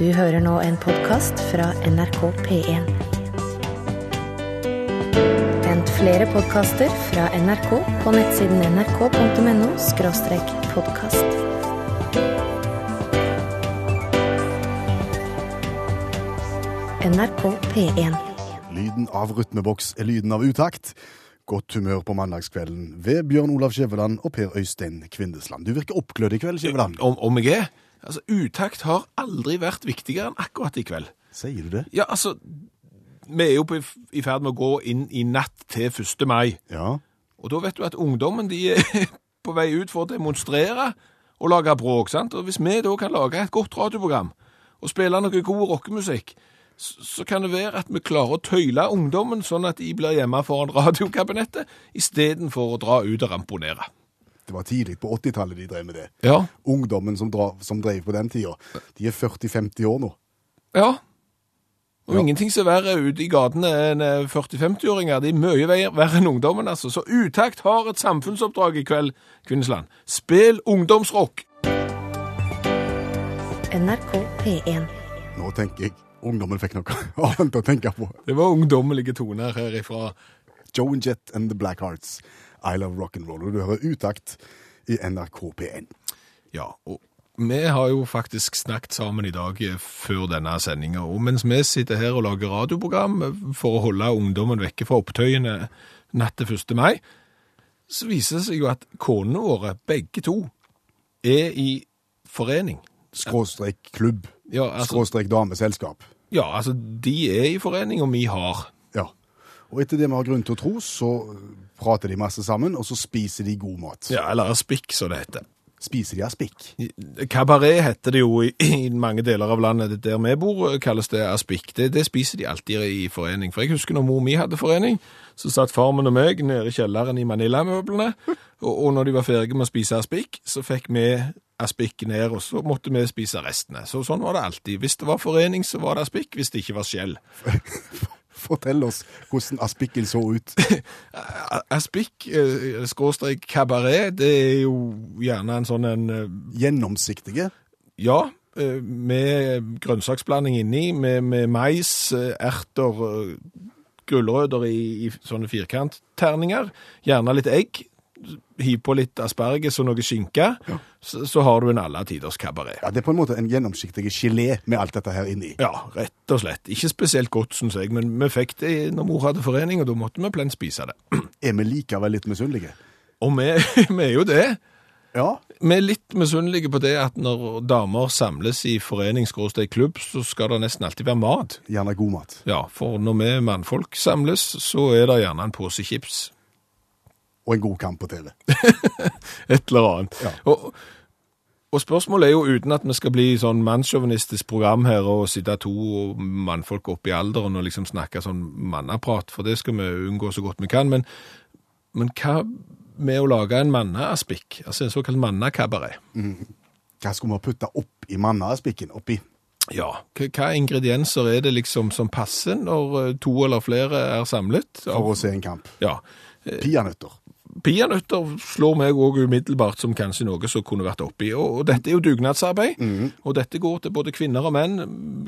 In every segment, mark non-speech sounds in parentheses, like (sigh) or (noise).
Du hører nå en podkast fra NRK P1. Vent flere podkaster fra NRK på nettsiden nrk.no – podkast. NRK P1. Lyden av rytmeboks er lyden av utakt. Godt humør på mandagskvelden ved Bjørn Olav Skjæveland og Per Øystein Kvindesland. Du virker oppglødd i kveld, Skjæveland. Om, om jeg er? Altså, utakt har aldri vært viktigere enn akkurat i kveld. Sier du det? Ja, altså, vi er jo på, i ferd med å gå inn i natt til 1. mai, Ja. og da vet du at ungdommen de er (laughs) på vei ut for å demonstrere og lage bråk, sant? Og hvis vi da kan lage et godt radioprogram og spille noe god rockemusikk, s- så kan det være at vi klarer å tøyle ungdommen sånn at de blir hjemme foran radiokabinettet, i stedet for å dra ut og ramponere. Det var tidlig på 80-tallet de drev med det. Ja, Ungdommen som, dra, som drev på den tida, de er 40-50 år nå. Ja. Og ingenting som er verre ute i gatene enn eh, 40-50-åringer. De er mye ver- verre enn ungdommen, altså. Så Utakt har et samfunnsoppdrag i kveld, Kvinnesland. Spill ungdomsrock! NRK P1. Nå tenker jeg ungdommen fikk noe (laughs) annet å tenke på. Det var ungdommelige toner herifra. Joan Jett and The Black Hearts. I Love Rock'n'Roll. Og du hører utakt i NRK P1. Ja, og vi har jo faktisk snakket sammen i dag eh, før denne sendinga. Og mens vi sitter her og lager radioprogram eh, for å holde ungdommen vekke fra opptøyene natt til 1. mai, så viser det seg jo at konene våre, begge to, er i forening. Skråstrek klubb. Ja, altså, Skråstrek dameselskap. ja, altså de er i forening, og vi har. Ja. Og etter det vi har grunn til å tro, så eh, prater de masse sammen, og så spiser de god mat. Ja, eller spikk, som det heter. Spiser de aspik? (laughs) Kabaret heter det jo i, i mange deler av landet der vi bor, kalles det aspik. Det, det spiser de alltid i forening. For jeg husker når mor mi hadde forening, så satt far min og meg nede i kjelleren i Manila-møblene, og, og når de var ferdige med å spise aspik, så fikk vi aspik ned, og så måtte vi spise restene. Så sånn var det alltid. Hvis det var forening, så var det aspik, hvis det ikke var skjell. Fortell oss hvordan aspikken så ut. A- Aspik, eh, skråstrek kabaret, det er jo gjerne en sånn en eh, Gjennomsiktige. Ja, eh, med grønnsaksblanding inni, med, med mais, eh, erter, eh, gulrøtter i, i sånne firkantterninger. Gjerne litt egg. Hiv på litt asperges og noe skinke, så, så har du en alle tiders kabaret. Ja, Det er på en måte en gjennomsiktig gelé med alt dette her inni. Ja, rett og slett. Ikke spesielt godt, syns jeg, men vi fikk det når mor hadde forening, og da måtte vi plent spise det. Er vi likevel litt misunnelige? Og vi, (laughs) vi er jo det. Ja. Vi er litt misunnelige på det at når damer samles i foreningsgråstegklubb, så skal det nesten alltid være mat. Gjerne god mat. Ja, for når vi mannfolk samles, så er det gjerne en pose chips. Og en god kamp på TV. Et eller annet. Ja. Og, og spørsmålet er jo, uten at vi skal bli sånn mannssjåvinistisk program her og sitte to mannfolk opp i alderen og liksom snakke sånn mannaprat, for det skal vi unngå så godt vi kan, men, men hva med å lage en manneaspikk, altså en såkalt mannakabaret? Hva skulle vi ha putta oppi mannaspikken? Oppi? Ja, hva hva ingredienser er det liksom som passer når eh, to eller flere er samlet? For å se en kamp. Ja, Peanøtter. Peanøtter slår meg òg umiddelbart som kanskje noe som kunne vært oppi. Og og dette er jo dugnadsarbeid, og dette går til både kvinner og menn.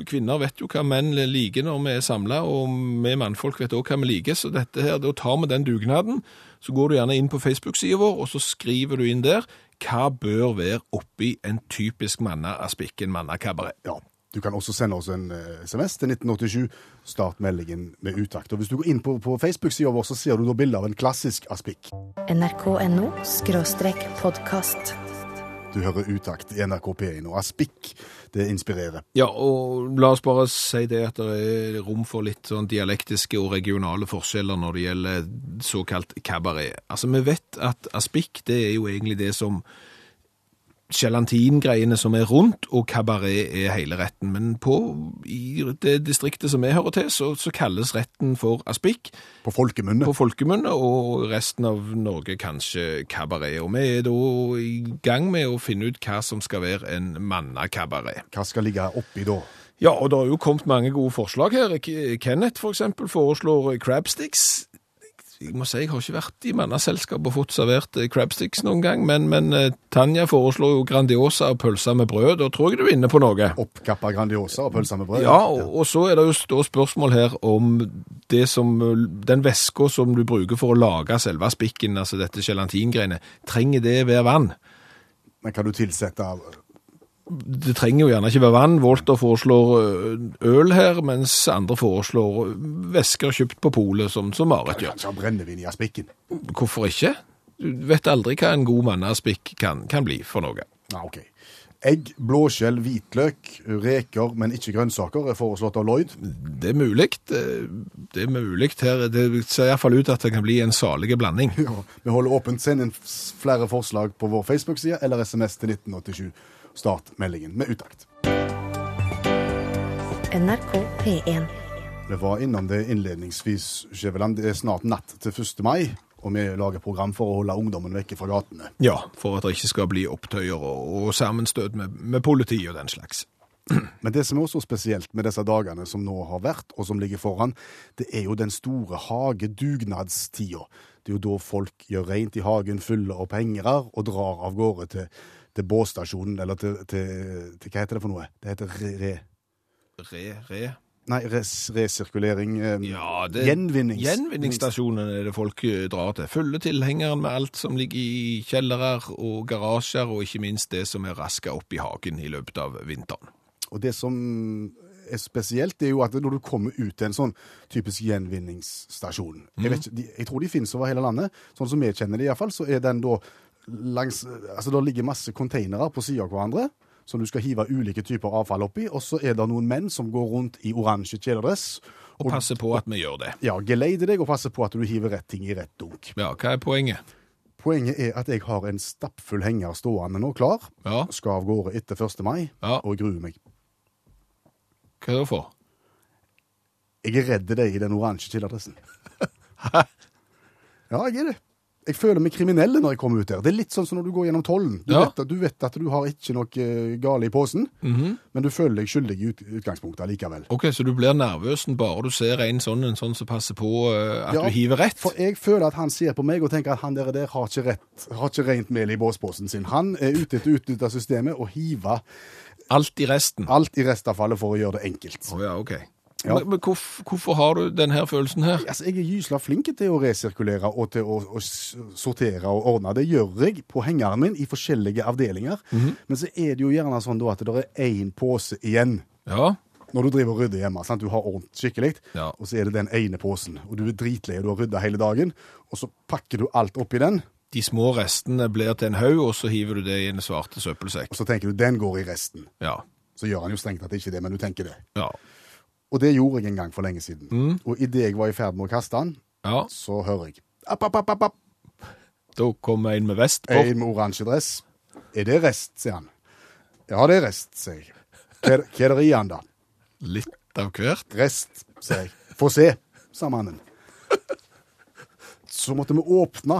Kvinner vet jo hva menn liker når vi er samla, og vi mannfolk vet òg hva vi liker. Så dette her, da tar vi den dugnaden. Så går du gjerne inn på Facebook-sida vår, og så skriver du inn der hva bør være oppi en typisk manneaspik, en mannakabaret. Ja. Du kan også sende oss en eh, SMS til 1987. Start meldingen med utakt. Og hvis du går inn på, på Facebook-sida vår, så ser du da bilde av en klassisk aspikk. NRK.no – podkast. Du hører utakt i NRK P1, og aspikk, det inspirerer. Ja, og la oss bare si det at det er rom for litt sånn dialektiske og regionale forskjeller når det gjelder såkalt kabaret. Altså, vi vet at aspikk, det er jo egentlig det som gelatingreiene som er rundt, og kabaret er hele retten. Men på, i det distriktet som vi hører til, så, så kalles retten for aspikk På folkemunne. på folkemunne, og resten av Norge kanskje kabaret. Og vi er da i gang med å finne ut hva som skal være en mannakabaret. Hva skal ligge oppi da? Ja, og det har jo kommet mange gode forslag her. K- Kenneth for eksempel foreslår crabsticks. eh, Jeg må si jeg har ikke vært i manneselskap og fått servert eh, crabsticks noen gang, men, men eh, Tanja foreslår jo Grandiosa og pølser med brød. Da tror jeg du er inne på noe. Oppkappa Grandiosa og pølser med brød. Ja, og, og så er det jo da spørsmål her om det som, eh, den væska som du bruker for å lage selve spikken, altså dette gelatingreiene, trenger det være vann? Men kan du tilsette av Det trenger jo gjerne ikke være vann. Walter foreslår eh, øl her, mens andre foreslår eh, væsker kjøpt på polet, sånn som, som Marit gjør. Kanskje av brennevin i aspikken? Hvorfor ikke? Du vet aldri hva en god mannespikk kan, kan bli for noe. Ja, ok. Egg, blåskjell, hvitløk, reker, men ikke grønnsaker, er foreslått av Lloyd. Det er mulig. eh, Det er mulig her. Det ser iallfall ut at det kan bli en salig blanding. Ja, vi holder åpent. Send inn f- flere forslag på vår Facebook-side eller SMS til 1987. Start meldingen med utakt. NRK P1. Vi var innom det innledningsvis, Skjæveland. Det er snart natt til 1. mai, og vi lager program for å holde ungdommen vekke fra gatene. Ja, for at det ikke skal bli opptøyer og, og sammenstøt med, med politi og den slags. Men det som er også spesielt med disse dagene som nå har vært, og som ligger foran, det er jo den store hagedugnadstida. Det er jo da folk gjør rent i hagen, fyller opp hengere og drar av gårde til, til båsstasjonen, eller til, til, til Hva heter det for noe? Det heter re... re Re, re. nei, res, resirkulering. Eh, Ja, det, gjenvinnings... Gjenvinningsstasjonen er det folk eh, drar til. Følger tilhengeren med alt som ligger i kjellerer og garasjer, og ikke minst det som er raska opp i hagen i løpet av vinteren. Og det som er spesielt, det er jo at når du kommer ut til en sånn typisk gjenvinningsstasjon jeg, vet ikke, de, jeg tror de finnes over hele landet. Sånn som vi kjenner det iallfall, så er den da langs Altså, det ligger masse containere på sida av hverandre. Som du skal hive ulike typer avfall oppi. Og så er det noen menn som går rundt i oransje kjeledress Og passe på at vi gjør det. ja, geleider deg og passer på at du hiver rett ting i rett dunk. Ja, hva er poenget? Poenget er at jeg har en stappfull henger stående nå klar. Ja, Skal av gårde etter 1. mai, Ja. og gruer meg. hva er det for? Jeg er redd deg i den oransje kjeledressen. (laughs) Hæ? Ja, jeg er det. Jeg føler meg kriminell når jeg kommer ut der. Det er litt sånn som når du går gjennom tollen. Du, Ja. vet, at- du vet at du har ikke noe eh, gale i posen, Mhm. men du føler deg skyldig i ut- utgangspunktet likevel. Ok, så du blir nervøs bare du ser en sånn, en sånn som passer på eh, at Ja, du hiver rett? For jeg føler at han ser på meg og tenker at han der, der har ikke rett, har ikke rent mel i båsposen sin. Han er ute etter å utnytte systemet og hive Alt i resten? alt i restavfallet for å gjøre det enkelt. Å ja, ok. Ja. Men, men hvorf, hvorfor har du denne følelsen her? Altså, jeg er gysla flink til å resirkulere og til å, å s- sortere og ordne. Det gjør jeg på hengeren min i forskjellige avdelinger. Men så er det jo gjerne sånn da at det er én pose igjen Ja, når du driver og rydder hjemme. sant? Du har ordnet skikkelig, Ja. og så er det den ene posen. Og du er dritlei, og du har rydda hele dagen. Og så pakker du alt oppi den, de små restene blir til en haug, og så hiver du det i en svarte søppelsekk. og så tenker du den går i resten. Ja, Så gjør han jo strengt tatt ikke det, men du tenker det. ja, Og det gjorde jeg en gang for lenge siden. Og idet jeg var i ferd med å kaste den, ja. så hører jeg app, app, app, app, app. Da kommer en med vest bort. En med oransje dress. Er det rest, sier han. Ja, det er rest, sier jeg. Hva er- hva er det i han, da? Litt av hvert. Rest, sier jeg. Få se, sa mannen. Så måtte vi åpne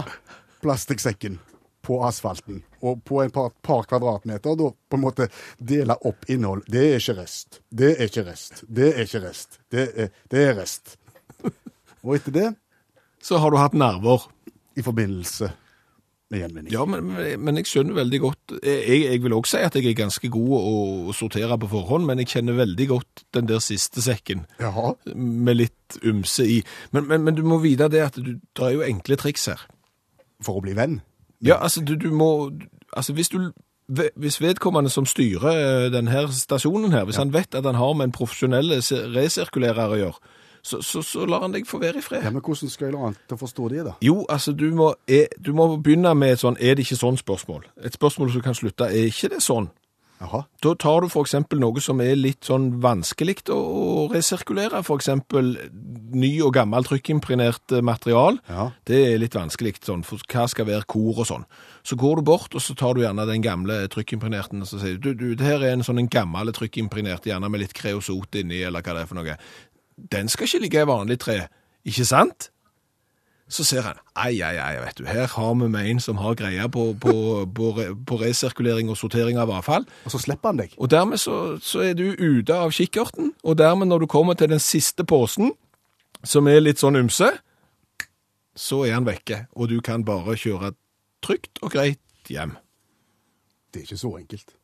plastikksekken på asfalten, og på et par, par kvadratmeter da på en måte dele opp innhold. Det er ikke rest. Det er ikke rest. Det er ikke rest. Det er, det er rest. Og etter det, Så har du hatt nerver. i forbindelse med gjenvinning. Ja, men, men- men jeg skjønner veldig godt eh, Jeg, jeg vil også si at jeg er ganske god å å sortere på forhånd, men jeg kjenner veldig godt den der siste sekken Jaha. med litt ymse i. Men, men, men du må vite det at du drar jo enkle triks her. For å bli venn. Ja, altså du, du må Altså hvis du hvis vedkommende som styrer denne stasjonen her, hvis han vet at han har med en profesjonell se- resirkulerer å gjøre, så, så, så lar han deg få være i fred. Ja, men hvordan skal jeg la han til å forstå det, da? Jo, altså du må, er, du må begynne med et sånn er det ikke sånn spørsmål. Et spørsmål som kan slutte er ikke det sånn. Jaha. Da tar du for eksempel noe som er litt sånn vanskelig å å resirkulere, for eksempel ny og gammel trykkimpregnert eh, material. Ja. Det er litt vanskelig, sånn, for hva skal være kor og sånn. Så går du bort, og så tar du gjerne den gamle trykkimpregnerte, og så sier du, du, det her er en sånn en gammel trykkimpregnert, gjerne med litt kreosot inni, eller hva det er for noe. Den skal ikke ligge i vanlig tre, ikke sant? Så ser han, ei, ei, ei, vet du, her har vi med en som har greia på, på, på, re- på resirkulering og sortering av avfall, Og så slipper han deg. og dermed så, så er du ute av kikkerten, og dermed når du kommer til den siste posen, som er litt sånn ymse, så er han vekke, og du kan bare kjøre trygt og greit hjem. Det er ikke så enkelt.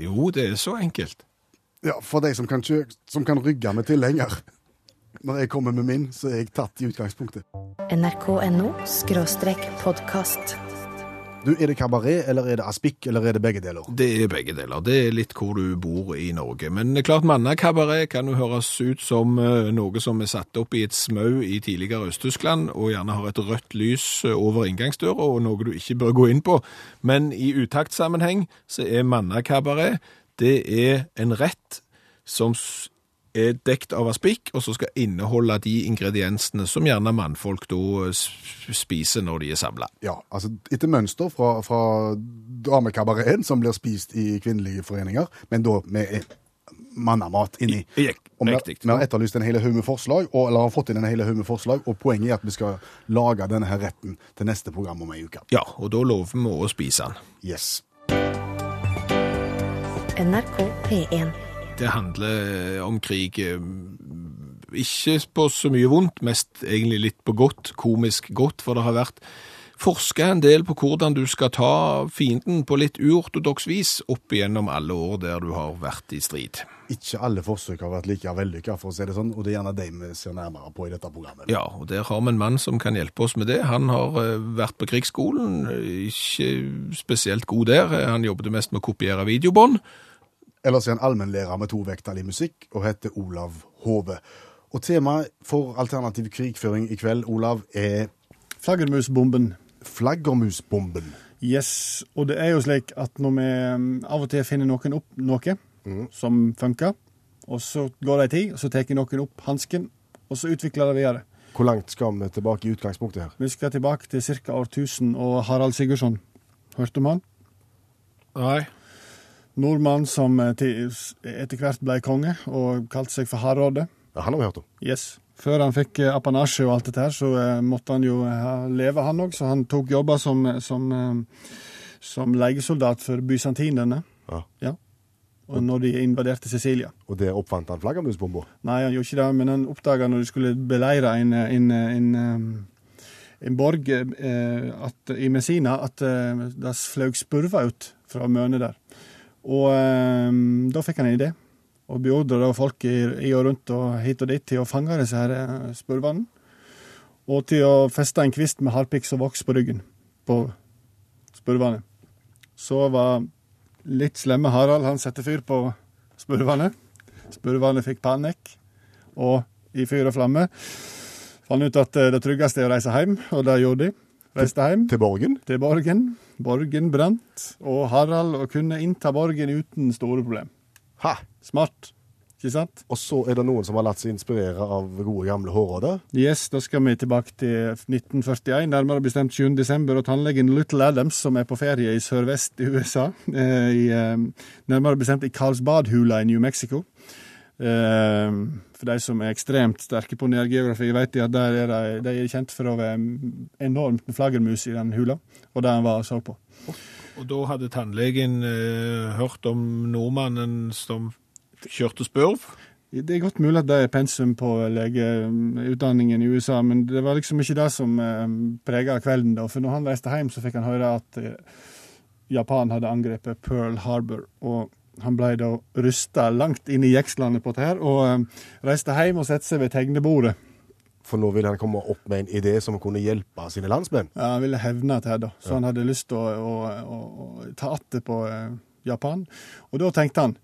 Jo, det er så enkelt. Ja, for deg som kan, kjø- som kan rygge med tilhenger. Når jeg kommer med min, så er jeg tatt i utgangspunktet. nrk.no skråstrek podkast. Du, er det kabaret, eller er det aspik, eller er det begge deler? Det er begge deler. Det er litt hvor du bor i Norge. Men det er klart mannakabaret kan jo høres ut som eh, noe som er satt opp i et smau i tidligere Øst-Tyskland, og gjerne har et rødt lys eh, over inngangsdøra, og noe du ikke bør gå inn på. Men i utaktsammenheng så er mannakabaret det er en rett som s- er dekt av aspik, og som skal inneholde de ingrediensene som gjerne mannfolk da eh, s- spiser når de er samla. Ja, altså etter mønster fra, fra damekabareten som blir spist i kvinnelige foreninger, men da med eh, mannamat inni. I- i- Og vi, riktig. vi har etterlyst en hel haug med forslag, og, eller har fått inn en hel haug med forslag, og poenget er at vi skal lage denne her retten til neste program om ei uke. Ja, og da lover vi å spise den. Yes. NRK P1. Det handler om krig eh, ikke på så mye vondt, mest egentlig litt på godt, komisk godt, for det har vært forska en del på hvordan du skal ta fienden på litt uortodoks vis opp igjennom alle år der du har vært i strid. Ikke alle forsøk har vært like vellykka, for å si det sånn, og det er gjerne de vi ser nærmere på i dette programmet. Ja, og der har vi en mann som kan hjelpe oss med det. Han har eh, vært på krigsskolen, eh, ikke spesielt god der. Eh, Han jobbet mest med å kopiere videobånd. Ellers er han allmennlærer med to vekttall i musikk og heter Olav Hove. Og temaet for alternativ krigføring i kveld, Olav, er Flaggermusbomben. flaggermusbomben. Yes. Og det er jo slik at når vi um, av og til finner noen opp noe som funker, og så går det ei tid, og så tar noen opp hansken, og så utvikler det videre. Hvor langt skal vi tilbake i utgangspunktet her? Vi skal tilbake til ca. årtusen og Harald Sigurdsson. Hørte om han? Nei. Nordmann som eh, til- etter hvert ble konge og kalte seg for Hardråde. Ja, han har vi hørt om. Yes. Før han fikk eh, apanasje og alt dette her, så eh, måtte han jo eh, leve, han òg. Så han tok jobber som, som, eh, som leiesoldat for bysantinerne. Ja. Og når de invaderte Sicilia. Og der oppfant han flaggermusbomba. Nei, han gjorde ikke det, men han oppdaga når de skulle beleire en, en, en, eh, en borg eh, at, i Messina, at eh, det fløy spurver ut fra mønet der. Og eh, da fikk han en idé, og beordra da folk i, i og rundt og hit og dit til å fange disse her eh, spurvene. Og til å feste en kvist med harpiks og voks på ryggen på spurvene. Så var litt slemme Harald, han satte fyr på spurvene. Spurvene fikk panikk, og i fyr og flamme fant ut at eh, det tryggeste er å reise hjem, og det gjorde de. Reiste hjem Til Borgen. til Borgen. Borgen brant, og Harald og kunne innta Borgen uten store problem. Ha! Smart, ikke sant? Og så er det noen som har latt seg inspirere av gode gamle Hårråde. Yes, da skal vi tilbake til 1941, nærmere bestemt 7. desember, og tannlegen Little Adams, som er på ferie i sørvest i USA, (laughs) eh, i, eh, nærmere bestemt i Carlsbad-hula i New Mexico. Eh, For de som er ekstremt sterke på nærgeografi, vet de at der er de, de er kjent for å være enormt med flaggermus i den hula, og der han var og så på. Og da hadde tannlegen eh, hørt om nordmannen som kjørte spurv. Det er godt mulig at det er pensum på legeutdanningen i USA, men det var liksom ikke det som eh, prega kvelden. da, For når han reiste hjem, så fikk han høre at eh, Japan hadde angrepet Pearl Harbor. og han ble da rysta langt inn i jekslene på dette, her, og eh, reiste hjem og satte seg ved tegnebordet. For nå ville han komme opp med en idé som kunne hjelpe sine landsmenn. Ja, han ville hevne dette, her da. så han hadde lyst til å, å, å, å ta atter på eh, Japan. Og da tenkte han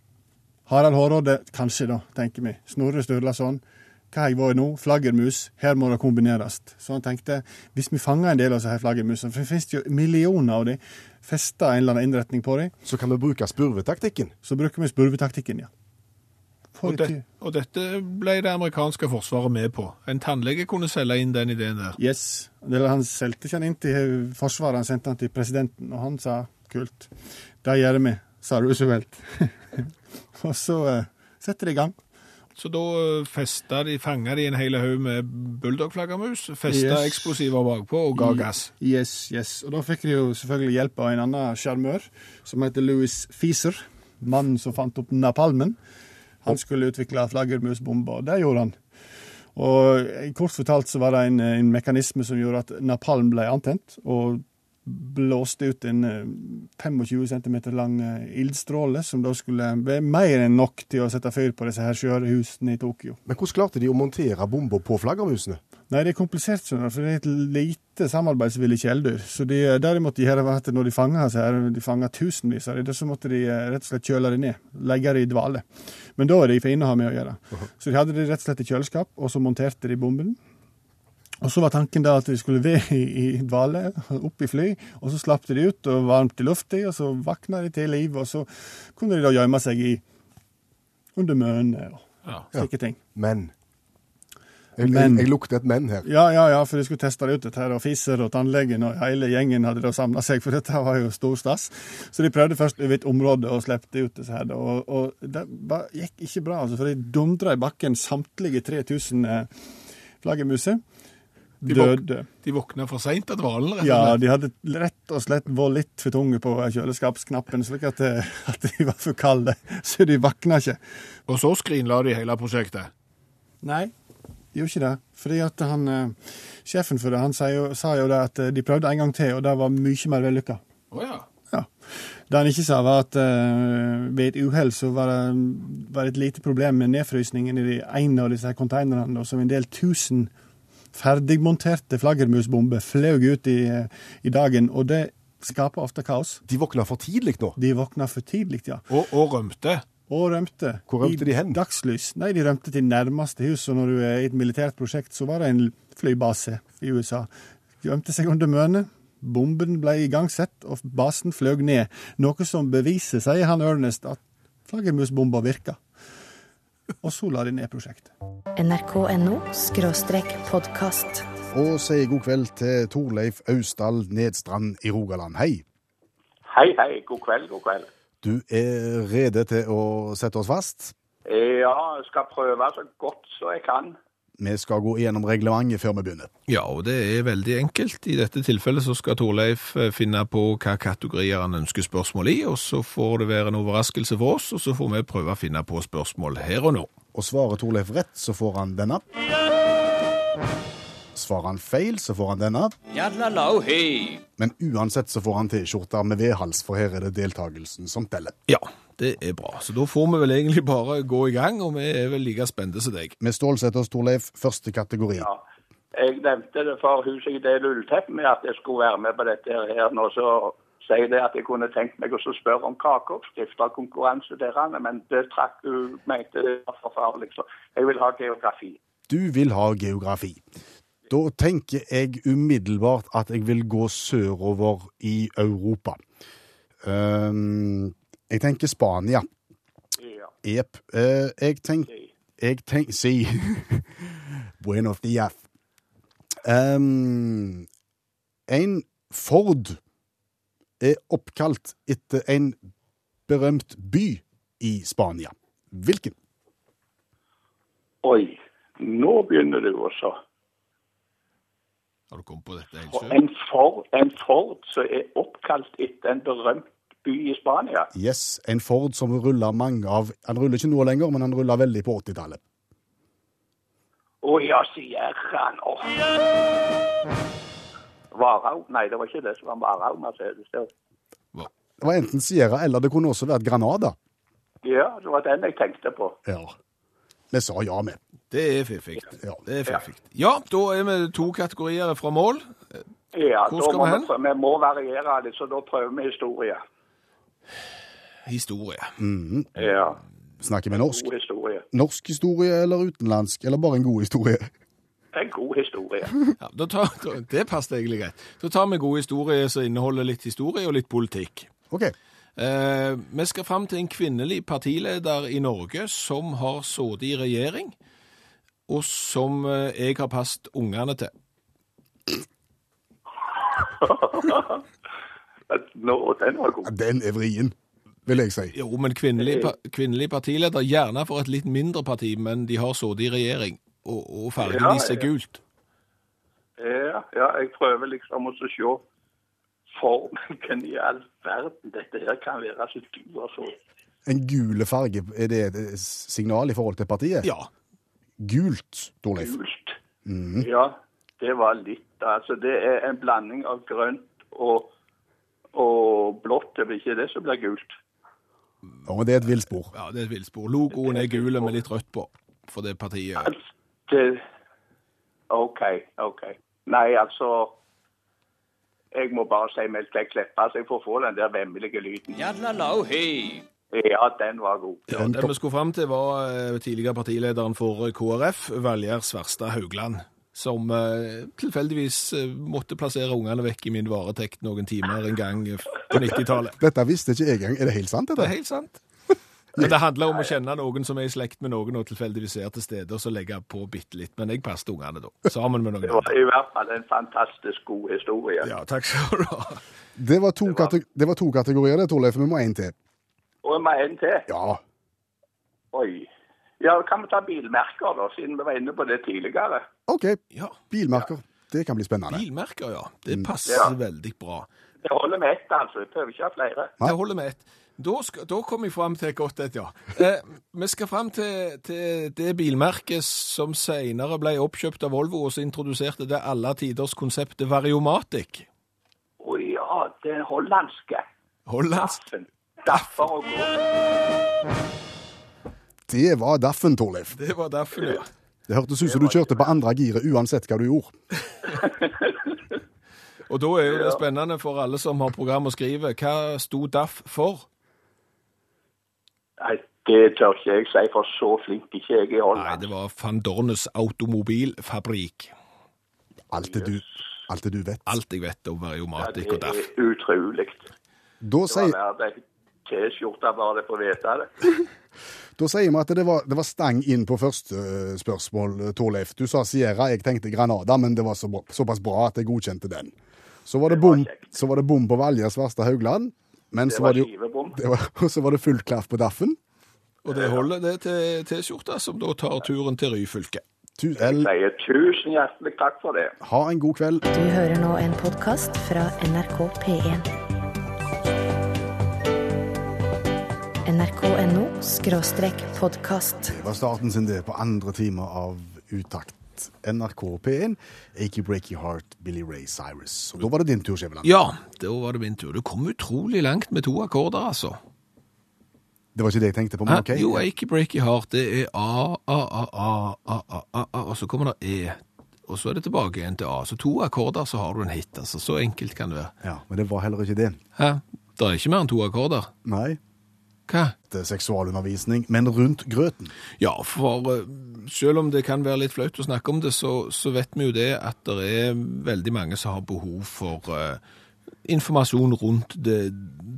Harald Hårråde, kanskje, da, tenker vi. Snorre Sturlason. Hva har jeg vært nå? Flaggermus. Her må det kombineres. Så han tenkte hvis vi fanger en del av disse her flaggermusene, for det finnes jo millioner av dem, fester en eller annen innretning på dem, Så kan vi bruke spurvetaktikken. så bruker vi spurvetaktikken, ja. For Og, det, og dette ble det amerikanske forsvaret med på. En tannlege kunne selge inn den ideen der. Yes. Eller han solgte ikke han inn til Forsvaret, han sendte han til presidenten, og han sa kult, det gjør vi, sa Roosevelt. (laughs) og så eh, setter de i gang. Så da eh, festa de, fanga de en hel haug med bulldogflaggermus, festa Yes. Mm. eksplosiver bakpå og ga gass. Yes, yes. Og da fikk de jo selvfølgelig hjelp av en annen sjarmør som heter Louis Feaser, mannen som fant opp napalmen. Han skulle utvikle flaggermusbomber, og det gjorde han. Og eh, Kort fortalt så var det en, eh, en mekanisme som gjorde at napalm ble antent, og blåste ut en eh, 25 cm lang eh, ildstråle, som da skulle være mer enn nok til å sette fyr på disse her svære husene i Tokyo. Men hvordan klarte de å montere bomber på flaggermusene? Nei, det er komplisert, skjønner du, for det er et lite samarbeidsvillig kjæledyr. Så de, eh, der måtte de gjøre var at når de fanga så her, de fanget tusenvis av dem, så måtte de eh, rett og slett kjøle dem ned. Legge dem i dvale. Men da er de fine å ha med å gjøre. Så de hadde de rett og slett i kjøleskap, og så monterte de bomben. Og så var tanken da at de skulle være i, i dvale, opp i fly, og så slapp de de ut, og varmt i lufta, og så vakna de til liv, og så kunne de da gjemme seg i under mønene og Ja. slike ting. Men. Jeg, Men. jeg, jeg lukter et men her. Ja, ja, ja, for de skulle teste det ut, dette her, og Fiser og tannlegen og hele gjengen hadde da samla seg, for dette var jo stor stas. Så de prøvde først over et område og slepte ut disse her, da, og, og det ba- gikk ikke bra, altså, for de dundra i bakken samtlige 3000 eh, flaggermuser. De våk- Døde. De våkna for seint av dvalen, rett og Ja, slett. de hadde rett og slett vært litt for tunge på kjøleskapsknappen, slik at, eh, at de var for kalde, så de vakna ikke. Og så skrinla de hele prosjektet. Nei, de gjorde ikke det. Fordi at han, eh, Sjefen for det han sa jo, sa jo det at eh, de prøvde en gang til, og det var mye mer vellykka. Å ja. Ja. Det han ikke sa, var at eh, ved et uhell så var det, var det et lite problem med nedfrysningen i de ene av disse her konteinerne, da, som en del tusen ferdigmonterte flaggermusbomber fløy ut i, eh, i dagen. Og det skaper ofte kaos. De våkna for tidlig nå. De våkna for tidlig, ja. Og, og rømte. Og rømte. Hvor rømte I de hen? Dagslys. Nei, de rømte til nærmeste hus. Og når du er i et militært prosjekt, så var det en flybase i USA. De rømte seg under mønet. Bomben ble igangsett, og basen fløy ned. Noe som beviser, sier han Ernest, at flaggermusbomba virka. Og så la de ned prosjektet. nrk.no skråstrek podkast. Og sier god kveld til Torleif Austdal Nedstrand i Rogaland. Hei. Hei, hei. God kveld, god kveld. Du er rede til å sette oss fast. Ja, jeg skal prøve så godt så jeg kan. Vi skal gå gjennom reglementet før vi begynner. Ja, og det er veldig enkelt. I dette tilfellet så skal Torleif eh, finne på hva kategorier han ønsker spørsmål i, og så får det være en overraskelse for oss, og så får vi prøve å finne på spørsmål her og nå. Og svarer Torleif rett, så får han denne. Svarer han feil, så får han denne. Men uansett så får han T-skjorta med vedhals, for her er det deltakelsen som teller. Ja, det er bra. Så da får vi vel egentlig bare gå i gang, og vi er vel like spente som deg. Vi stålsetter oss, Torleif, første kategori. Ja. Jeg nevnte det for huset i det lulleteppet med at jeg skulle være med på dette her nå, så sier det at jeg kunne tenkt meg også å spørre om kakeoppskrifter og konkurranse der, Anne, men det trakk hun mente det var for farlig, så jeg vil ha geografi. Du vil ha geografi. Da tenker jeg umiddelbart at jeg vil gå sørover i Europa. Ehm, jeg tenker Spania. Ja. Jep. Eh, jeg tenker Jeg tenker Si. (laughs) Buenos dias. Ehm, en Ford er oppkalt etter en berømt by i Spania. Hvilken? Oi, nå begynner du også. Har du kommet på dette helt Og sjøl? en Ford, en Ford som er oppkalt etter en berømt by i Spania. Yes, en Ford som ruller mange av Han ruller ikke nå lenger, men han ruller veldig på 80-tallet. Å ja, Sierra nå. Varau? Nei, det var ikke det som var Varau. Mercedes. Det var- Det var enten Sierra eller det kunne også vært Granada. Ja, det var den jeg tenkte på. Ja. Vi sa ja, vi. Det er fiffig. Ja. Det er fiffig. Ja, da er vi to kategorier fra mål. Ja, Hvor da skal må vi vi, hen? prøve, vi må variere litt, så da prøver vi historie. Historie. Ja, Snakker vi norsk? god historie. Norsk historie eller utenlandsk, eller bare en god historie? (laughs) En god historie. Ja, da tar, da- det passet egentlig greit. Da tar vi god historie som inneholder litt historie og litt politikk. OK. Eh, vi skal fram til en kvinnelig partileder i Norge som har sittet i regjering, og som eh, jeg har passet ungene til. Nå, den var god. Ja, Den er vrien, vil jeg si. Jo, men kvinnelig, pa kvinnelig partileder, gjerne for et litt mindre parti, men de har sittet i regjering, og, og fargen Ja, i seg ja. gult. Ja, ja, jeg prøver liksom å se for meg hvem i all verden dette her kan være så du har så. eh, En gul farge, er det et signal i forhold til partiet? Ja. Gult, Torleif. gult. Mhm. Ja, det var litt. Altså, det er en blanding av grønt og, og blått. Det blir ikke det som blir gult. Ja, men det er et villspor. Ja, det er et villspor. Logoen er gul med litt rødt på, for det partiet. Altså, det, OK, OK. Nei, altså Jeg må bare si Melk deg kleppa, så jeg får få den der vemmelige lyden. Ja, den var god. Ja, den vi skulle fram til, var eh, tidligere partilederen for KrF, Valgerd Sverstad Haugland, som eh, tilfeldigvis eh, måtte plassere ungene vekk i min varetekt noen timer en gang eh, på 90-tallet. Dette visste ikke jeg engang. Er det helt sant, Det er (laughs) dette? helt sant. Men det handler om å kjenne noen som er i slekt med noen, og tilfeldigvis er til stede, og så legge på bitte litt. Men jeg passet ungene da, sammen med Det noen var andre. i hvert fall en fantastisk god historie. Ja, takk skal du ha. Det var to, kate det var to kategorier, det, Torleif. Vi må ha en til. Og jeg må ha en til. Ja. Oi. Ja, kan vi ta bilmerker, da, siden vi var inne på det tidligere? OK. Ja, Bilmerker. Det kan bli spennende. bilmerker, ja. Det passer Mm. Ja. veldig bra. Det holder med ett, altså. Jeg prøver ikke å ha flere. Det holder med ett. Da, skal, da kom jeg fram til et godt et, ja. Eh, vi skal fram til, til det bilmerket som senere ble oppkjøpt av Volvo, og så introduserte det alle tiders konseptet Variomatic. Å ja, den hollandske. Hollandsk. Derfor og gå. Det var daffen, Torleif. Det var derfor, ja. Det hørtes ut som du kjørte på andre giret uansett hva du gjorde. Og da er jo det spennende for alle som har program og skriver, hva sto DAF for? Nei, det tør ikke jeg si, for så flink ikke jeg er i Nei, Holland. det var Van Dornes automobilfabrikk. Alt det du, alt det du vet. Alt jeg vet om variomatikk og det DAF. er utrolig. Da Det var sier, verdt ei T-skjorte bare det får vite det. da sier vi at det var, det var stang inn på første eh, spørsmål, eh, Torleif. Du sa Sierra, jeg tenkte Granada, men det var så bra, såpass bra at jeg godkjente den. Så var det Det var bom, kjekt. så var det bom på Valje Svarstad Haugland, men Det så var var det jo skivebom. (laughs) det var, og så var det full klaff på daffen. Og det holder det til T-skjorta, som da tar turen til Ryfylke. Tu, el, Sier tusen hjertelig takk for det. ha en god kveld. Du hører nå en podkast fra NRK P1. NRK.no skråstrek podkast. Det var starten sin det på andre time av Utakt. NRK P1, Achy Breaky Heart, Billy Ray Cyrus. Og da var det din tur, Skjæveland. Ja, da var det min tur. Du kom utrolig langt med to akkorder, altså. Det var ikke det jeg tenkte på, men OK. Hæ? Jo, Achy Breaky Heart, det er A, A, A, A, A, A, A, A, og så kommer det E. Og så er det tilbake igjen til A. Så to akkorder, så har du en hit, altså. Så enkelt kan det være. Ja, men det var heller ikke det. Hæ? Det er ikke mer enn to akkorder. Nei. Hva? Det er eh, seksualundervisning, men rundt grøten. Ja, for eh, selv om det kan være litt flaut å snakke om det, så, så vet vi jo det at det er veldig mange som har behov for eh, informasjon rundt det,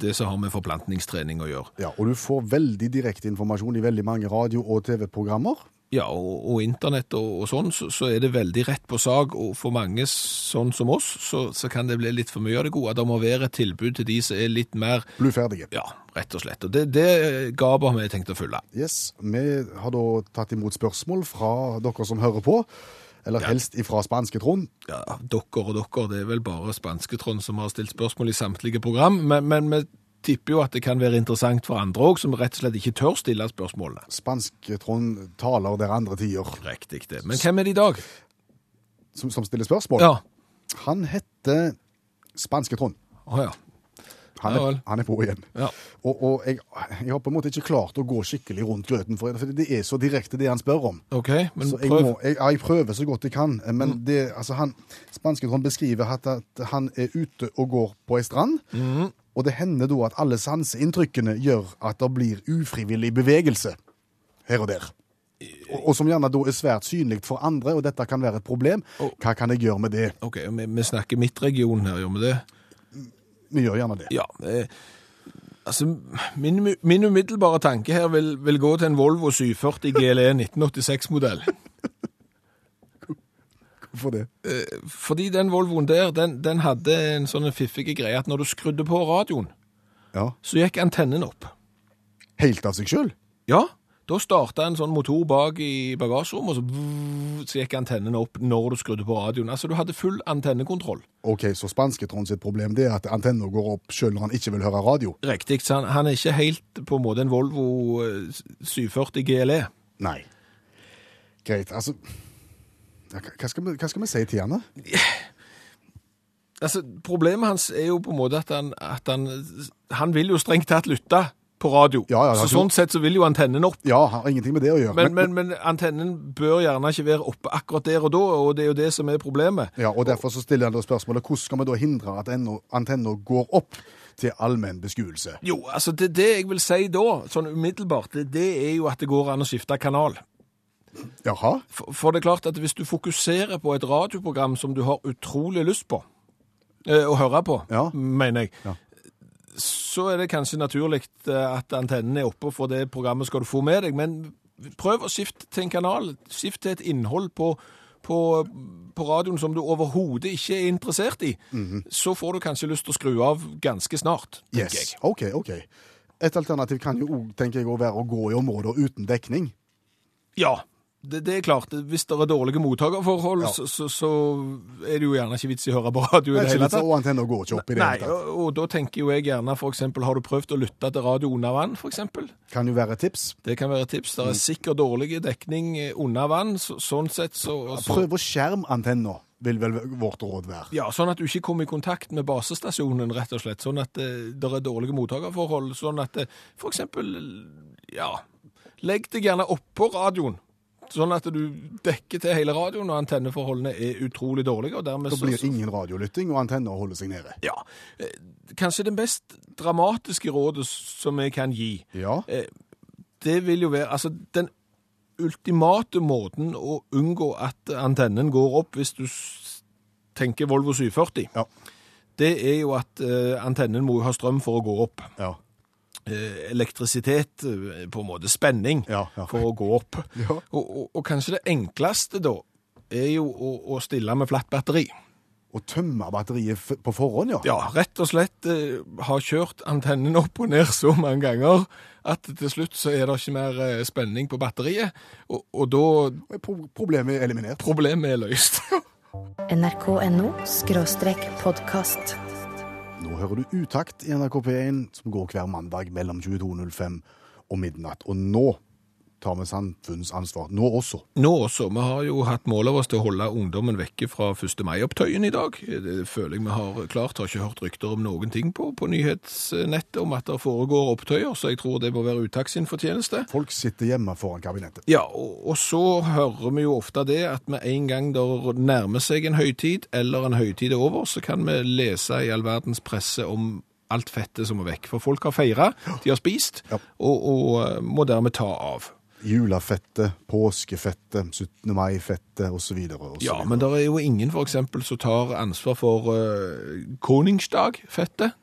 det som har med forplantningstrening å gjøre. Ja, og du får veldig direkte informasjon i veldig mange radio- og TV-programmer. Ja, og, og internett og, og sånn, så, så er det veldig rett på sag, og for mange sånn som oss, så, så kan det bli litt for mye av det gode. Det må være et tilbud til de som er litt mer, Bluferdige. ja, rett og slett. Og det, det gapet har vi tenkt å fylle. Yes, vi har da tatt imot spørsmål fra dere som hører på, eller helst ifra spanske Trond. ja, dere og dere, det er vel bare spansketråden som har stilt spørsmål i samtlige program, men, men vi tipper jo at det kan være interessant for andre òg, som rett og slett ikke tør stille spørsmålene. Spanske Trond taler der andre tider Riktig det. Men hvem er det i dag? som, som stiller spørsmål. Ja. Han heter Spanske Trond. Å ja. Han Ja er, vel. han er på igjen. ja. Og, og jeg, jeg har på en måte ikke klart å gå skikkelig rundt grøten, for for det er så direkte det han spør om. OK, men Så jeg, prøv. Mm. må, jeg, ja, jeg prøver så godt jeg kan, men det, altså han, spanske Trond beskriver at, at han er ute og går på ei strand, Mm. og det hender da at alle sanseinntrykkene gjør at det blir ufrivillig bevegelse her og der. Og, og som gjerne da er svært synlig for andre, og dette kan være et problem. Hva kan jeg gjøre med det? OK, og vi, vi snakker midtregion her, gjør vi det? Vi gjør gjerne det. Ja. Eh, altså, min, min umiddelbare tanke her vil, vil gå til en Volvo 740 GLE 1986-modell. Hvorfor det? Fordi den Volvoen der, den, den hadde en sånn fiffig greie at når du skrudde på radioen, Ja. så gikk antennen opp. Helt av seg sjøl? Ja, da starta en sånn motor bak i bagasjerommet, og så, vvv, så gikk antennen opp når du skrudde på radioen. Altså, du hadde full antennekontroll. OK, så spanske Trond sitt problem det er at antenna går opp sjøl når han ikke vil høre radio? Riktig, så han, han er E. ikke helt på en måte en Volvo eh, 740 GLE. Nei. Greit, altså ja, hva- hva skal, vi, hva skal vi si til han, da? Altså, Problemet hans er jo på en måte at han, at han, han vil jo strengt tatt lytte på radio. Ja, ja, ja. så Sånn sett så vil jo antennen opp. Ja, har ingenting med det å gjøre. Men, men, men antennen bør gjerne ikke være oppe akkurat der og da, og det er jo det som er problemet. Ja, og Derfor så stiller han da spørsmålet hvordan skal vi da hindre at ennå- antenna går opp til allmenn beskuelse? Jo, altså det, det jeg vil si da, sånn umiddelbart, det, det er jo at det går an å skifte kanal. Jaha? For, for det er klart at hvis du fokuserer på et radioprogram som du har utrolig lyst på, eh, å høre på, Ja. mener jeg, Ja. så er det kanskje naturlig eh, at antennen er oppe, for det programmet skal du få med deg. Men prøv å skifte til en kanal. Skift til et innhold på på, på radioen som du overhodet ikke er interessert i, så får du kanskje lyst til å skru av ganske snart, Mhm. tenker Yes. jeg. OK, OK. Et alternativ kan jo òg, tenker jeg, å være å gå i områder uten dekning. Ja, det, det er klart. Hvis det er dårlige mottakerforhold, Ja. så, så, så er det jo gjerne ikke vits i å høre på radio Det i det er ikke hele litt, tatt. og antenna går ikke opp i det Nei, hele tatt. og, og da tenker jo jeg gjerne for eksempel, har du prøvd å lytte til radio under vann, for eksempel? Kan jo være et tips. Mm. Det kan være et tips. Det er sikkert dårlig dekning eh, under vann, så, sånn sett så, så Prøv å skjerme antenna, vil vel vårt råd være. ja, Sånn at du ikke kommer i kontakt med basestasjonen, rett og slett. Sånn at det, det er dårlige mottakerforhold. Sånn at det, for eksempel, ja Legg deg gjerne oppå radioen. Sånn at du dekker til hele radioen, og antenneforholdene er utrolig dårlige. og dermed Da så- blir så- ingen radiolytting, og antenna holder seg nede. Ja. eh, Kanskje det mest dramatiske rådet som jeg kan gi, Ja. Eh, det vil jo være Altså, den ultimate måten å unngå at antennen går opp, hvis du s- tenker Volvo 740, Ja. det er jo at eh, antennen må jo ha strøm for å gå opp. Ja. Eh, elektrisitet, eh, på en måte spenning, Ja, ja. for å gå opp. Ja. Og, og, og kanskje det enkleste da, er jo å, å stille med flatt batteri. Og tømme batteriet f- på forhånd, ja. Ja, rett og slett eh, har kjørt antennen opp og ned så mange ganger at til slutt så er det ikke mer eh, spenning på batteriet, og, og da Pro- Problemet er eliminert. problemet er løst. (laughs) nrk.no skråstrek podkast. Nå hører du Utakt i NRK P1, som går hver mandag mellom 22.05 og midnatt. Og nå tar vi samfunnets ansvar. Nå også. Nå også, vi har jo hatt mål av oss til å holde ungdommen vekke fra 1. mai-opptøyen i dag. Det føler jeg vi har klart, har ikke hørt rykter om noen ting på, på nyhetsnettet om at det foregår opptøyer, så jeg tror det må være Utakt sin fortjeneste. Folk sitter hjemme foran kabinettet. Ja, og, og så hører vi jo ofte det at med en gang det nærmer seg en høytid, eller en høytid er over, så kan vi lese i all verdens presse om alt fettet som er vekk. For folk har feira, de har spist, Ja. og, og eh, må dermed ta av. Julafettet, påskefettet, 17. mai-fettet osv. Ja, men det er jo ingen for eksempel som tar ansvar for uh, Koningsdag-fettet.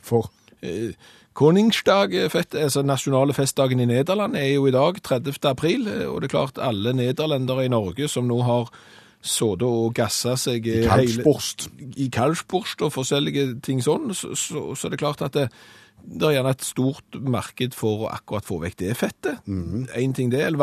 For Eh, Koningsdag-fettet, altså nasjonale festdagen i Nederland, er jo i dag 30. april, eh, og det er klart alle nederlendere i Norge som nå har sådde og gassa seg eh, hele, kalvsporst. i kalvsporst og forskjellige ting sånn, så, så, så er det klart at det, det er gjerne et stort marked for å akkurat få vekk det fettet. En ting det, eller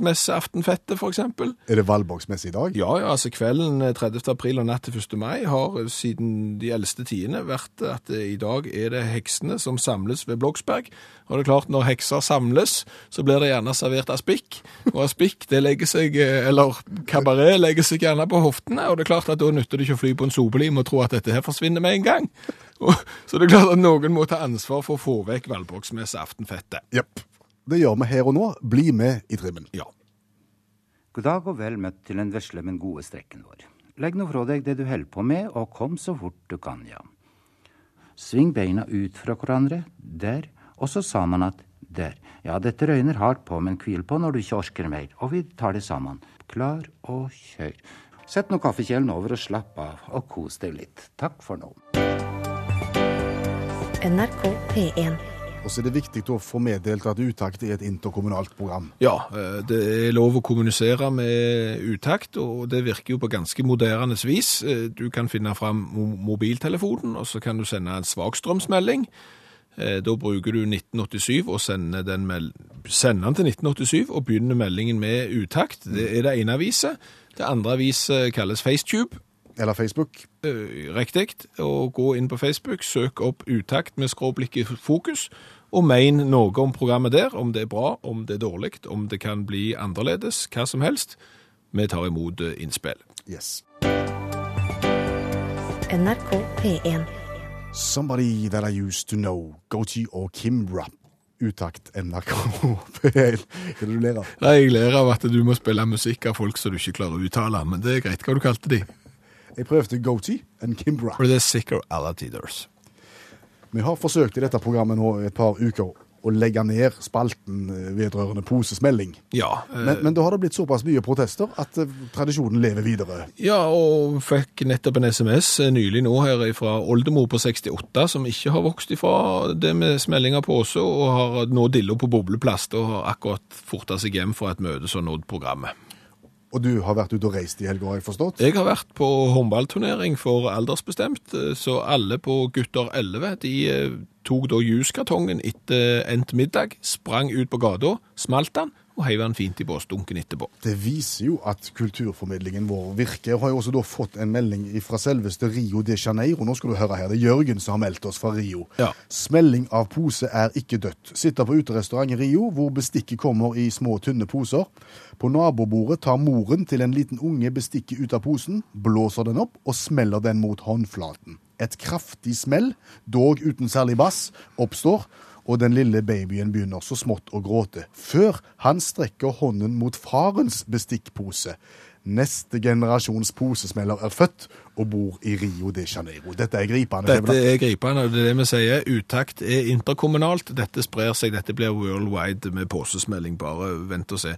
Valborgsmesseaftenfettet for eksempel. Er det valborgsmesse i dag? Ja, ja, altså kvelden 30. april og natt til 1. mai har eh, siden de eldste tidene vært at eh, i dag er det heksene som samles ved Bloksberg. Og det er klart, når hekser samles, så blir det gjerne servert aspikk. Og aspikk, det legger seg, eh, eller kabaret legger seg gjerne på hoftene, og det er klart at da nytter det ikke å fly på en sobelim og tro at dette her forsvinner med en gang. (laughs) Og, så det er klart at noen må ta ansvar for å få vekk Valborgsmesse aftenfettet. Jepp. Det gjør vi her og nå. Bli med i trimmen. Ja. God dag og vel møtt til den vesle, men gode strekken vår. Legg nå fra deg det du holder på med, og kom så fort du kan, ja. Sving beina ut fra hverandre, der, og så sa man at der. Ja, dette røyner hardt på, men hvil på når du ikke orker mer, og vi tar det sammen. Klar og kjør. Sett nå kaffekjelen over og slapp av, og kos deg litt. Takk for nå. NRK P1. Og så er det viktig å få meddelt at Utakt er et interkommunalt program. Ja, eh, det er lov å kommunisere med utakt, og det virker jo på ganske moderne vis. Eh, Du kan finne fram mo- mobiltelefonen, og så kan du sende en svakstrømsmelding. Eh, Da bruker du 1987 og sender den, mel- sender den til 1987 og begynner meldingen med utakt. Det er det ene aviset. Det andre aviset kalles FaceTube. Eller Facebook. Eh, Riktig. Og gå inn på Facebook, søk opp Utakt med skråblikket fokus, og mein noe om programmet der. Om det er bra, om det er dårlig, om det kan bli annerledes, hva som helst. Vi tar imot eh, innspill. Yes. NRK P1. Somebody that I used to know, Goji og Kimbra. Utakt (laughs) NRK P1. Hva er det du ler av? Nei, Jeg ler av at du må spille musikk av folk som du ikke klarer å uttale, men det er greit hva du kalte de. Jeg prøvde Goji and Kimbra. For det er sikker alle tiders. Vi har forsøkt i dette programmet nå et par uker å legge ned spalten eh, vedrørende posesmelling. Ja, eh, Men, men da har det blitt såpass mye protester at eh, tradisjonen lever videre. ja, og fikk nettopp en SMS eh, nylig nå her fra oldemor på 68, som ikke har vokst ifra det med smelling av pose, og har nå dillo på bobleplast, og har akkurat forta seg hjem fra et møte som har nådd programmet. Og du har vært ute og reist i helga, har jeg forstått? Jeg har vært på håndballturnering for aldersbestemt, eh, så alle på gutter 11 de eh, tok da juskartongen etter endt middag, sprang ut på gata, smalt den og heiv den fint i båsdunken etterpå. Det viser jo at kulturformidlingen vår virker. Jeg har jo også da fått en melding fra selveste Rio de Janeiro. Nå skal du høre her, det er Jørgen som har meldt oss fra Rio. Ja. Smelling av pose er ikke dødt. Sitter på uterestaurant i Rio, hvor bestikket kommer i små, tynne poser. På nabobordet tar moren til en liten unge bestikket ut av posen, blåser den opp og smeller den mot håndflaten. Et kraftig smell, dog uten særlig bass, oppstår, og den lille babyen begynner så smått å gråte, før han strekker hånden mot farens bestikkpose. Neste generasjons posesmeller er født og bor i Rio de Janeiro. Dette er gripende. Dette er gripende, og det er det vi sier. Utakt er interkommunalt. Dette sprer seg, dette blir worldwide med posesmelling. Bare vent og se.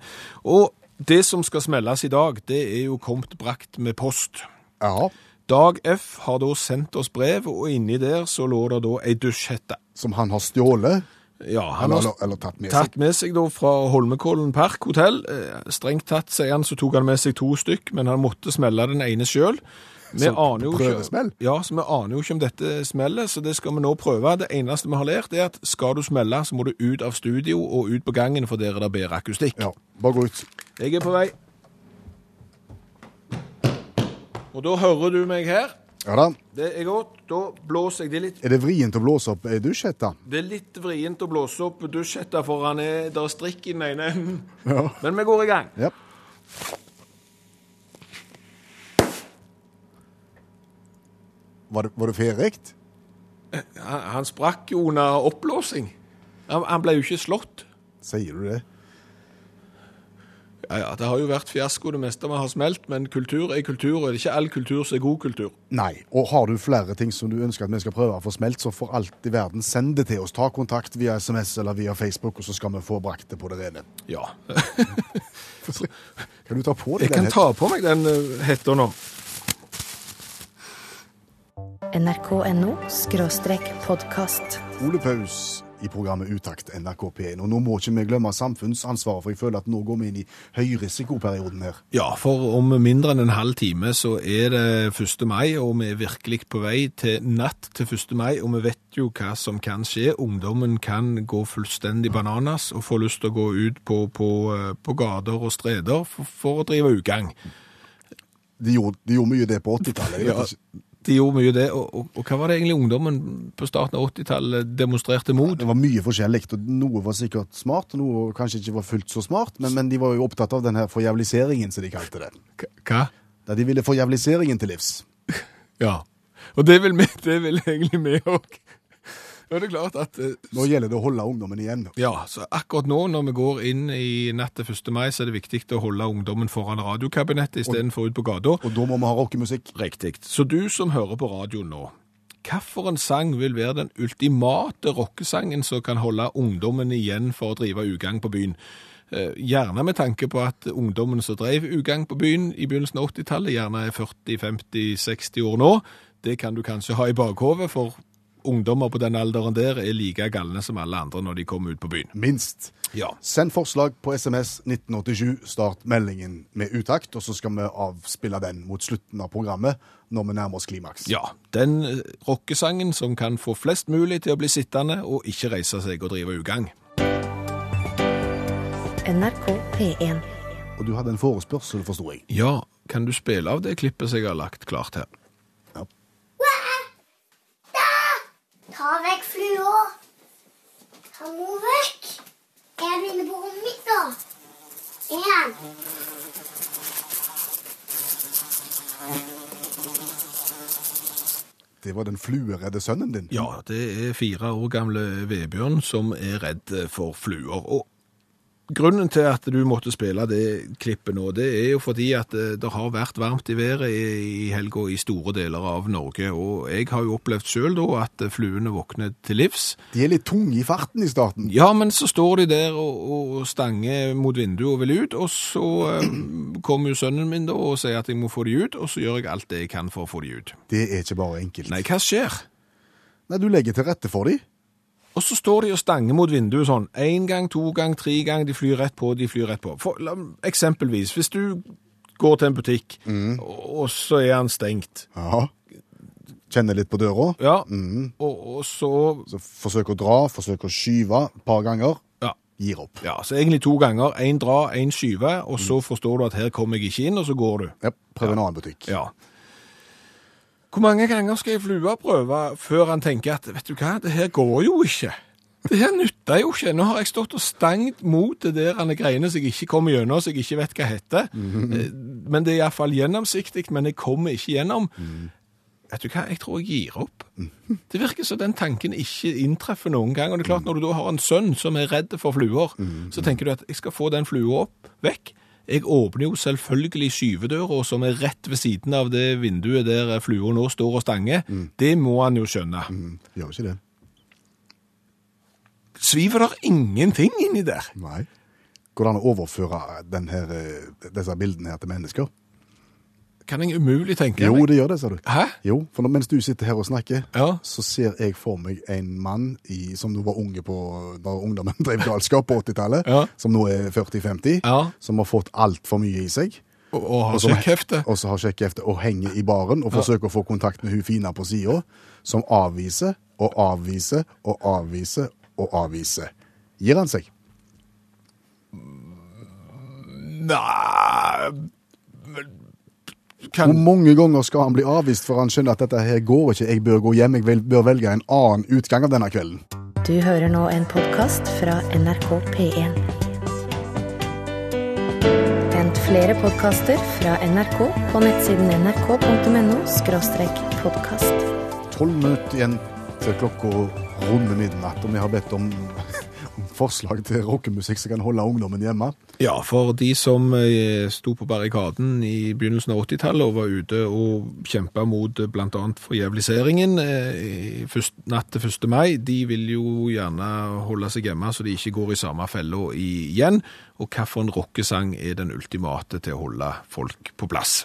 Og det som skal smelles i dag, det er jo kommet brakt med post. Ja, Dag F har da sendt oss brev, og inni der så lå det da ei dusjhette. som han har stjålet, Ja, han eller, har eller, eller tatt med seg. tatt med seg da fra Holmenkollen Park hotell. Eh, Strengt tatt, sier han, så tok han med seg to stykk, men han måtte smelle den ene sjøl. Vi Så aner jo prøvesmell? ikke, ja, så vi aner jo ikke om dette smeller, så det skal vi nå prøve. Det eneste vi har lært, er at skal du smelle, så må du ut av studio og ut på gangen, for der er det bedre akustikk. Ja, bare gå ut. Jeg er på vei. Og da hører du meg her. Ja da. Det er godt. Da blåser jeg det litt Er det vrient å blåse opp eh, ei dusjhette? Det er litt vrient å blåse opp dusjhetta, for han er, der er strikk i den ene (laughs) enden. Men vi går i gang. Ja. Var det, var det ferdig? Han, han sprakk jo under oppblåsing. Han, han ble jo ikke slått. Sier du det? Ja, ja, Det har jo vært fiasko det meste vi har smelt, men kultur er kultur, og det er ikke all kultur som er god kultur. Nei. Og har du flere ting som du ønsker at vi skal prøve å få smelt, så for alt i verden, send det til oss. Ta kontakt via SMS eller via Facebook, og så skal vi få brakt det på det rene. (laughs) Ja. Kan du ta på deg Jeg kan den? ta på meg den eh, hetta nå. NRK.no skråstrek podkast. Ole Paus i programmet Utakt NRK P1. Og nå må ikke vi glemme samfunnsansvaret, for jeg føler at nå går vi inn i høyrisikoperioden her. Ja, for om mindre enn en halv time så er det 1. mai, og vi er virkelig på vei til natt til 1. mai, og vi vet jo hva som kan skje. Ungdommen kan gå fullstendig bananas og få lyst til å gå ut på, på, eh, på gater og streder for, for å drive ugagn. De gjorde, de gjorde mye det på 80-tallet. jeg vet (laughs) Ja, ikke. de gjorde mye det, og, og, og hva var det egentlig ungdommen på starten av 80-tallet demonstrerte mot? Det var mye forskjellig, og noe var sikkert smart, og noe kanskje ikke var fullt så smart, men, men de var jo opptatt av denne forjævliseringen, som de kalte det. Hva? Da de ville forjævliseringen til livs. (laughs) Ja. Og det vil, vi- (laughs) det vil egentlig vi òg. Nå er det klart at eh, Nå gjelder det å holde ungdommen igjen. Ja, så akkurat nå når vi går inn i natt til 1. mai, så er det viktig å holde ungdommen foran radiokabinettet istedenfor ut på gata. Og da må vi ha rockemusikk. Riktig. Så du som hører på radio nå, hvilken sang vil være den ultimate rockesangen som kan holde ungdommen igjen for å drive ugagn på byen? Eh, Gjerne med tanke på at ungdommen som drev ugagn på byen i begynnelsen av 80-tallet, gjerne er 40, 50, 60 år nå. Det kan du kanskje ha i bakhovet, for ungdommer på den alderen der er like galne som alle andre når de kommer ut på byen. Minst. Ja. Send forslag på SMS 1987, start meldingen med utakt, og så skal vi avspille den mot slutten av programmet når vi nærmer oss klimaks. Ja, den eh, rockesangen som kan få flest mulig til å bli sittende og ikke reise seg og drive ugagn. NRK P1. Og du hadde en forespørsel, forsto jeg. Ja, Kan du spille av det klippet som jeg har lagt klart her? Ta vekk flua. Ta henne vekk. Er den inne på rommet mitt, da? Er han? Det var den flueredde sønnen din. Ja, det er fire år gamle Vebjørn som er redd eh, for fluer. Og grunnen til at du måtte spille det klippet nå, det er jo fordi at eh, det har vært varmt i været i i helga i store deler av Norge. Og jeg har jo opplevd sjøl da at eh, fluene våkner til livs. De er litt tunge i farten i starten. Ja, men så står de der og, og stanger mot vinduet og vil ut, og så eh, kommer jo sønnen min da og sier at jeg må få de ut, og så gjør jeg alt det jeg kan for å få de ut. Det er ikke bare enkelt. Nei, hva skjer? Nei, du legger til rette for dem. Og så står de og stanger mot vinduet sånn. Én gang, to gang, tre gang. De flyr rett på, de flyr rett på. For, la, eksempelvis, hvis du går til en butikk, og, og så er han stengt. Ja. Kjenner litt på døra. Ja, og, og så Så forsøker å dra, forsøker å skyve et par ganger. ja. Gir opp. ja, så egentlig to ganger. Én dra, én skyve, og så forstår du at her kommer jeg ikke inn, og så går du. Ja, prøv en annen butikk. Ja. Hvor mange ganger skal jeg flua prøve før han tenker at vet du hva, det her går jo ikke. Det her nytter jo ikke. Nå har jeg stått og stangt mot det der han greiene som jeg ikke kommer gjennom, så jeg ikke vet hva heter. Eh, Men det er iallfall gjennomsiktig, men jeg kommer ikke gjennom. Vet du hva, jeg tror jeg gir opp. Det virker som den tanken ikke inntreffer noen gang. Og det er klart, når du da har en sønn som er redd for fluer, så tenker du at jeg skal få den flua opp, vekk. Jeg åpner jo selvfølgelig skyvedøra, som er rett ved siden av det vinduet der flua nå står og stanger. Det må han jo skjønne. Mm, Gjør ikke det. Sviver der ingenting inni der? Nei. Går det an å overføre den her, eh, disse bildene her til mennesker? Kan jeg umulig tenke Jo, meg. det gjør det, ser du. Hæ? Jo, for når, mens du sitter her og snakker, Ja. så ser jeg for meg en mann i, som nå var unge på, da ungdommen (laughs) drev galskap på 80-tallet, Ja. som nå er 40-50, Ja. som har fått altfor mye i seg. Og, og har som- sjekkhefte? Og så har sjekkhefte og henger i baren og forsøker å få kontakt med hun fina på sida, som avviser og avviser og avviser og avviser. Gir han seg? Nei men- Hvor Kan mange ganger skal han bli avvist før han skjønner at dette her går ikke, jeg bør gå hjem, jeg vel- bør velge en annen utgang av denne kvelden? Du hører nå en podkast fra NRK P1. Hent flere podkaster fra NRK på nettsiden nrk.no podkast. Tolv minutter igjen til klokka runde midnatt, og vi har bedt om, (laughs) om forslag til rockemusikk som kan holde ungdommen hjemme. Ja, for de som eh, sto på barrikaden i begynnelsen av 80-tallet og var ute og kjempa mot eh, blant annet forjævliseringen eh, i først, natt til 1. mai, de vil jo gjerne holde seg hjemme så de ikke går i samme fella igjen. Og hvilken rockesang er den ultimate til å holde folk på plass?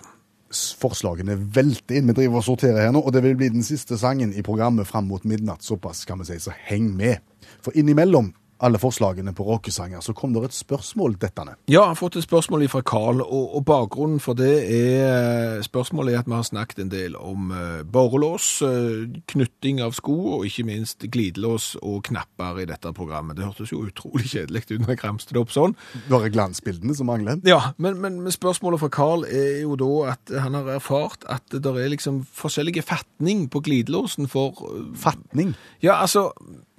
S- Forslagene velter inn, vi driver og sorterer her nå, og det vil bli den siste sangen i programmet fram mot midnatt, såpass kan vi si, så heng med. For innimellom alle forslagene på rockesanger, så kom det et spørsmål dettende. Ja, jeg har fått et spørsmål fra Carl, og, og bakgrunnen for det er eh, spørsmålet er at vi har snakket en del om eh, borrelås, eh, knytting av sko, og ikke minst glidelås og knapper i dette programmet. Det hørtes jo utrolig kjedelig ut når jeg ramste det opp sånn. Bare glansbildene som mangler. Ja, men, men, men spørsmålet fra Carl er jo da at han har erfart at det der er liksom forskjellige fatning på glidelåsen for eh, Fatning. ja, altså,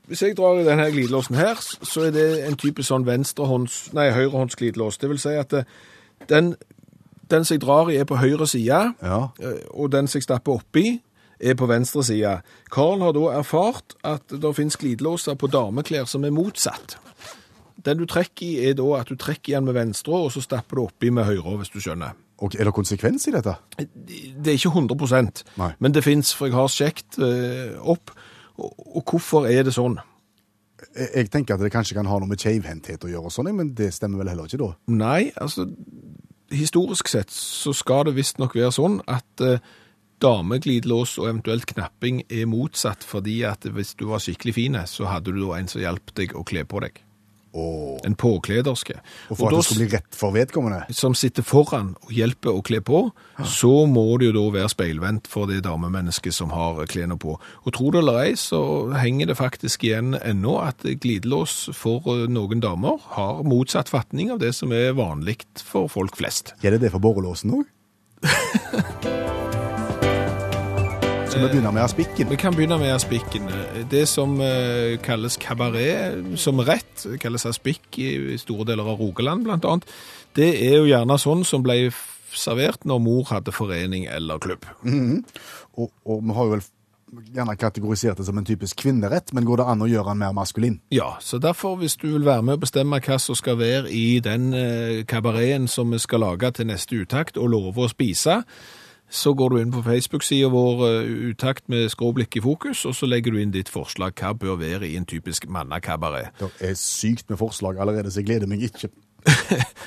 hvis jeg drar i denne glidelåsen her, så er det en type sånn venstrehånds, nei, høyrehåndsglidelås. Det vil si at eh, den, den som jeg drar i er på høyre side, Ja. eh, og den som jeg stapper oppi er på venstre side. Karl har da erfart at det finnes glidelåser på dameklær som er motsatt. Den du trekker i er da at du trekker igjen med venstre, og så stapper du oppi med høyre, hvis du skjønner. Eh, Og er det konsekvens i dette? Det er ikke 100 Nei. men det fins, for jeg har sjekket eh, opp. Og, og hvorfor er det sånn? Jeg jeg tenker at det kanskje kan ha noe med keivhendthet å gjøre, og sånn, men det stemmer vel heller ikke da? Nei, altså Historisk sett så skal det visstnok være sånn at eh, dameglidelås og eventuelt knapping er motsatt, fordi at hvis du var skikkelig fin, så hadde du da en som hjalp deg å kle på deg. Og, En påklederske. og for Og da at det skulle bli rett for vedkommende? s- som sitter foran og hjelper å kle på, så må det jo da være speilvendt for det damemennesket som har klærne på. Og tro det eller ei, så henger det faktisk igjen ennå at glidelås for eh, noen damer har motsatt fatning av det som er vanlig for folk flest. Gjelder det for borrelåsen òg? Skal vi begynne med aspikken? Vi kan begynne med aspikken. Det som eh, kalles kabaret som rett, kalles aspikk i store deler av Rogaland blant annet, det er jo gjerne sånn som ble f- servert når mor hadde forening eller klubb. Og, og vi har jo vel gjerne kategorisert det som en typisk kvinnerett, men går det an å gjøre den mer maskulin? Ja, så derfor hvis du vil være med og bestemme hva som skal være i den eh, kabareten som vi skal lage til neste uttakt og love å spise, så går du inn på Facebook-siden vår eh, uttakt med skråblikk i fokus, og så legger du inn ditt forslag hva bør være i en typisk mannakabaret. (laughs) Det er sykt med forslag allerede, så jeg gleder meg ikke.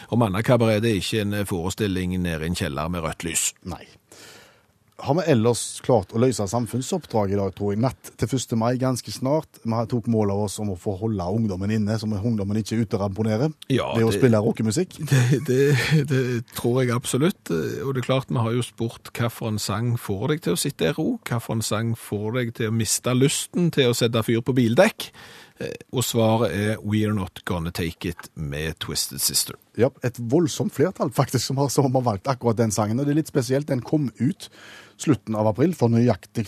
Og Mannakabaret er ikke en eh, forestilling nede i en kjeller med rødt lys. Nei. Har vi ellers klart å løse samfunnsoppdraget i dag, tror jeg. Natt til 1. mai ganske snart. Vi har- tok mål av oss om å få holde ungdommen inne, som ungdommen ikke er ute og ramponerer. Ja, det er å det- spille rockemusikk. Det, det- det tror jeg absolutt. Og det er klart, vi har jo spurt hvilken sang får deg til å sitte i ro? Hvilken sang får deg til å miste lysten til å sette fyr på bildekk? Eh, Og svaret er We're Not Gonna Take It med Twisted Sister. Ja, et voldsomt flertall faktisk som har, som har valgt akkurat den sangen. Og det er litt spesielt. Den kom ut slutten av april for nøyaktig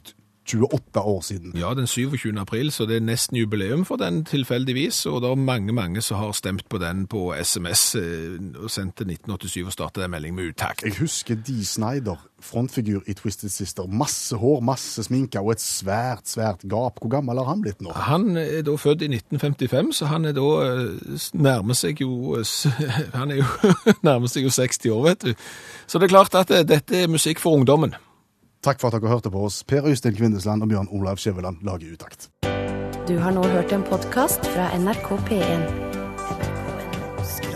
28 år siden. Ja, den 27. april, så det er nesten jubileum for den tilfeldigvis, og det er mange, mange som har stemt på den på SMS eh, og sendt til 1987 og startet en melding med uttakt. Jeg husker Dee Snyder, frontfigur i Twisted Sister. Masse hår, masse sminke og et svært, svært gap. Hvor gammel har han blitt nå? Han er da født i 1955, så han er da eh, s- nærmer seg jo eh, s- (laughs) Han er jo nærmer seg jo 60 år, vet du. Så det er klart at eh, dette er musikk for ungdommen. Takk for at dere hørte på oss. Per Øystein Kvindesland og Bjørn Olav Skjæveland lager Utakt. Du har nå hørt en podkast fra NRK P1.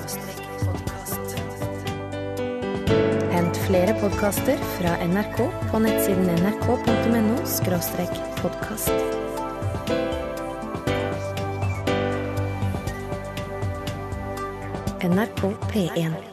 NRK.no-podkast. Hent flere podkaster fra NRK på nettsiden nrk.no-podkast. NRK P1.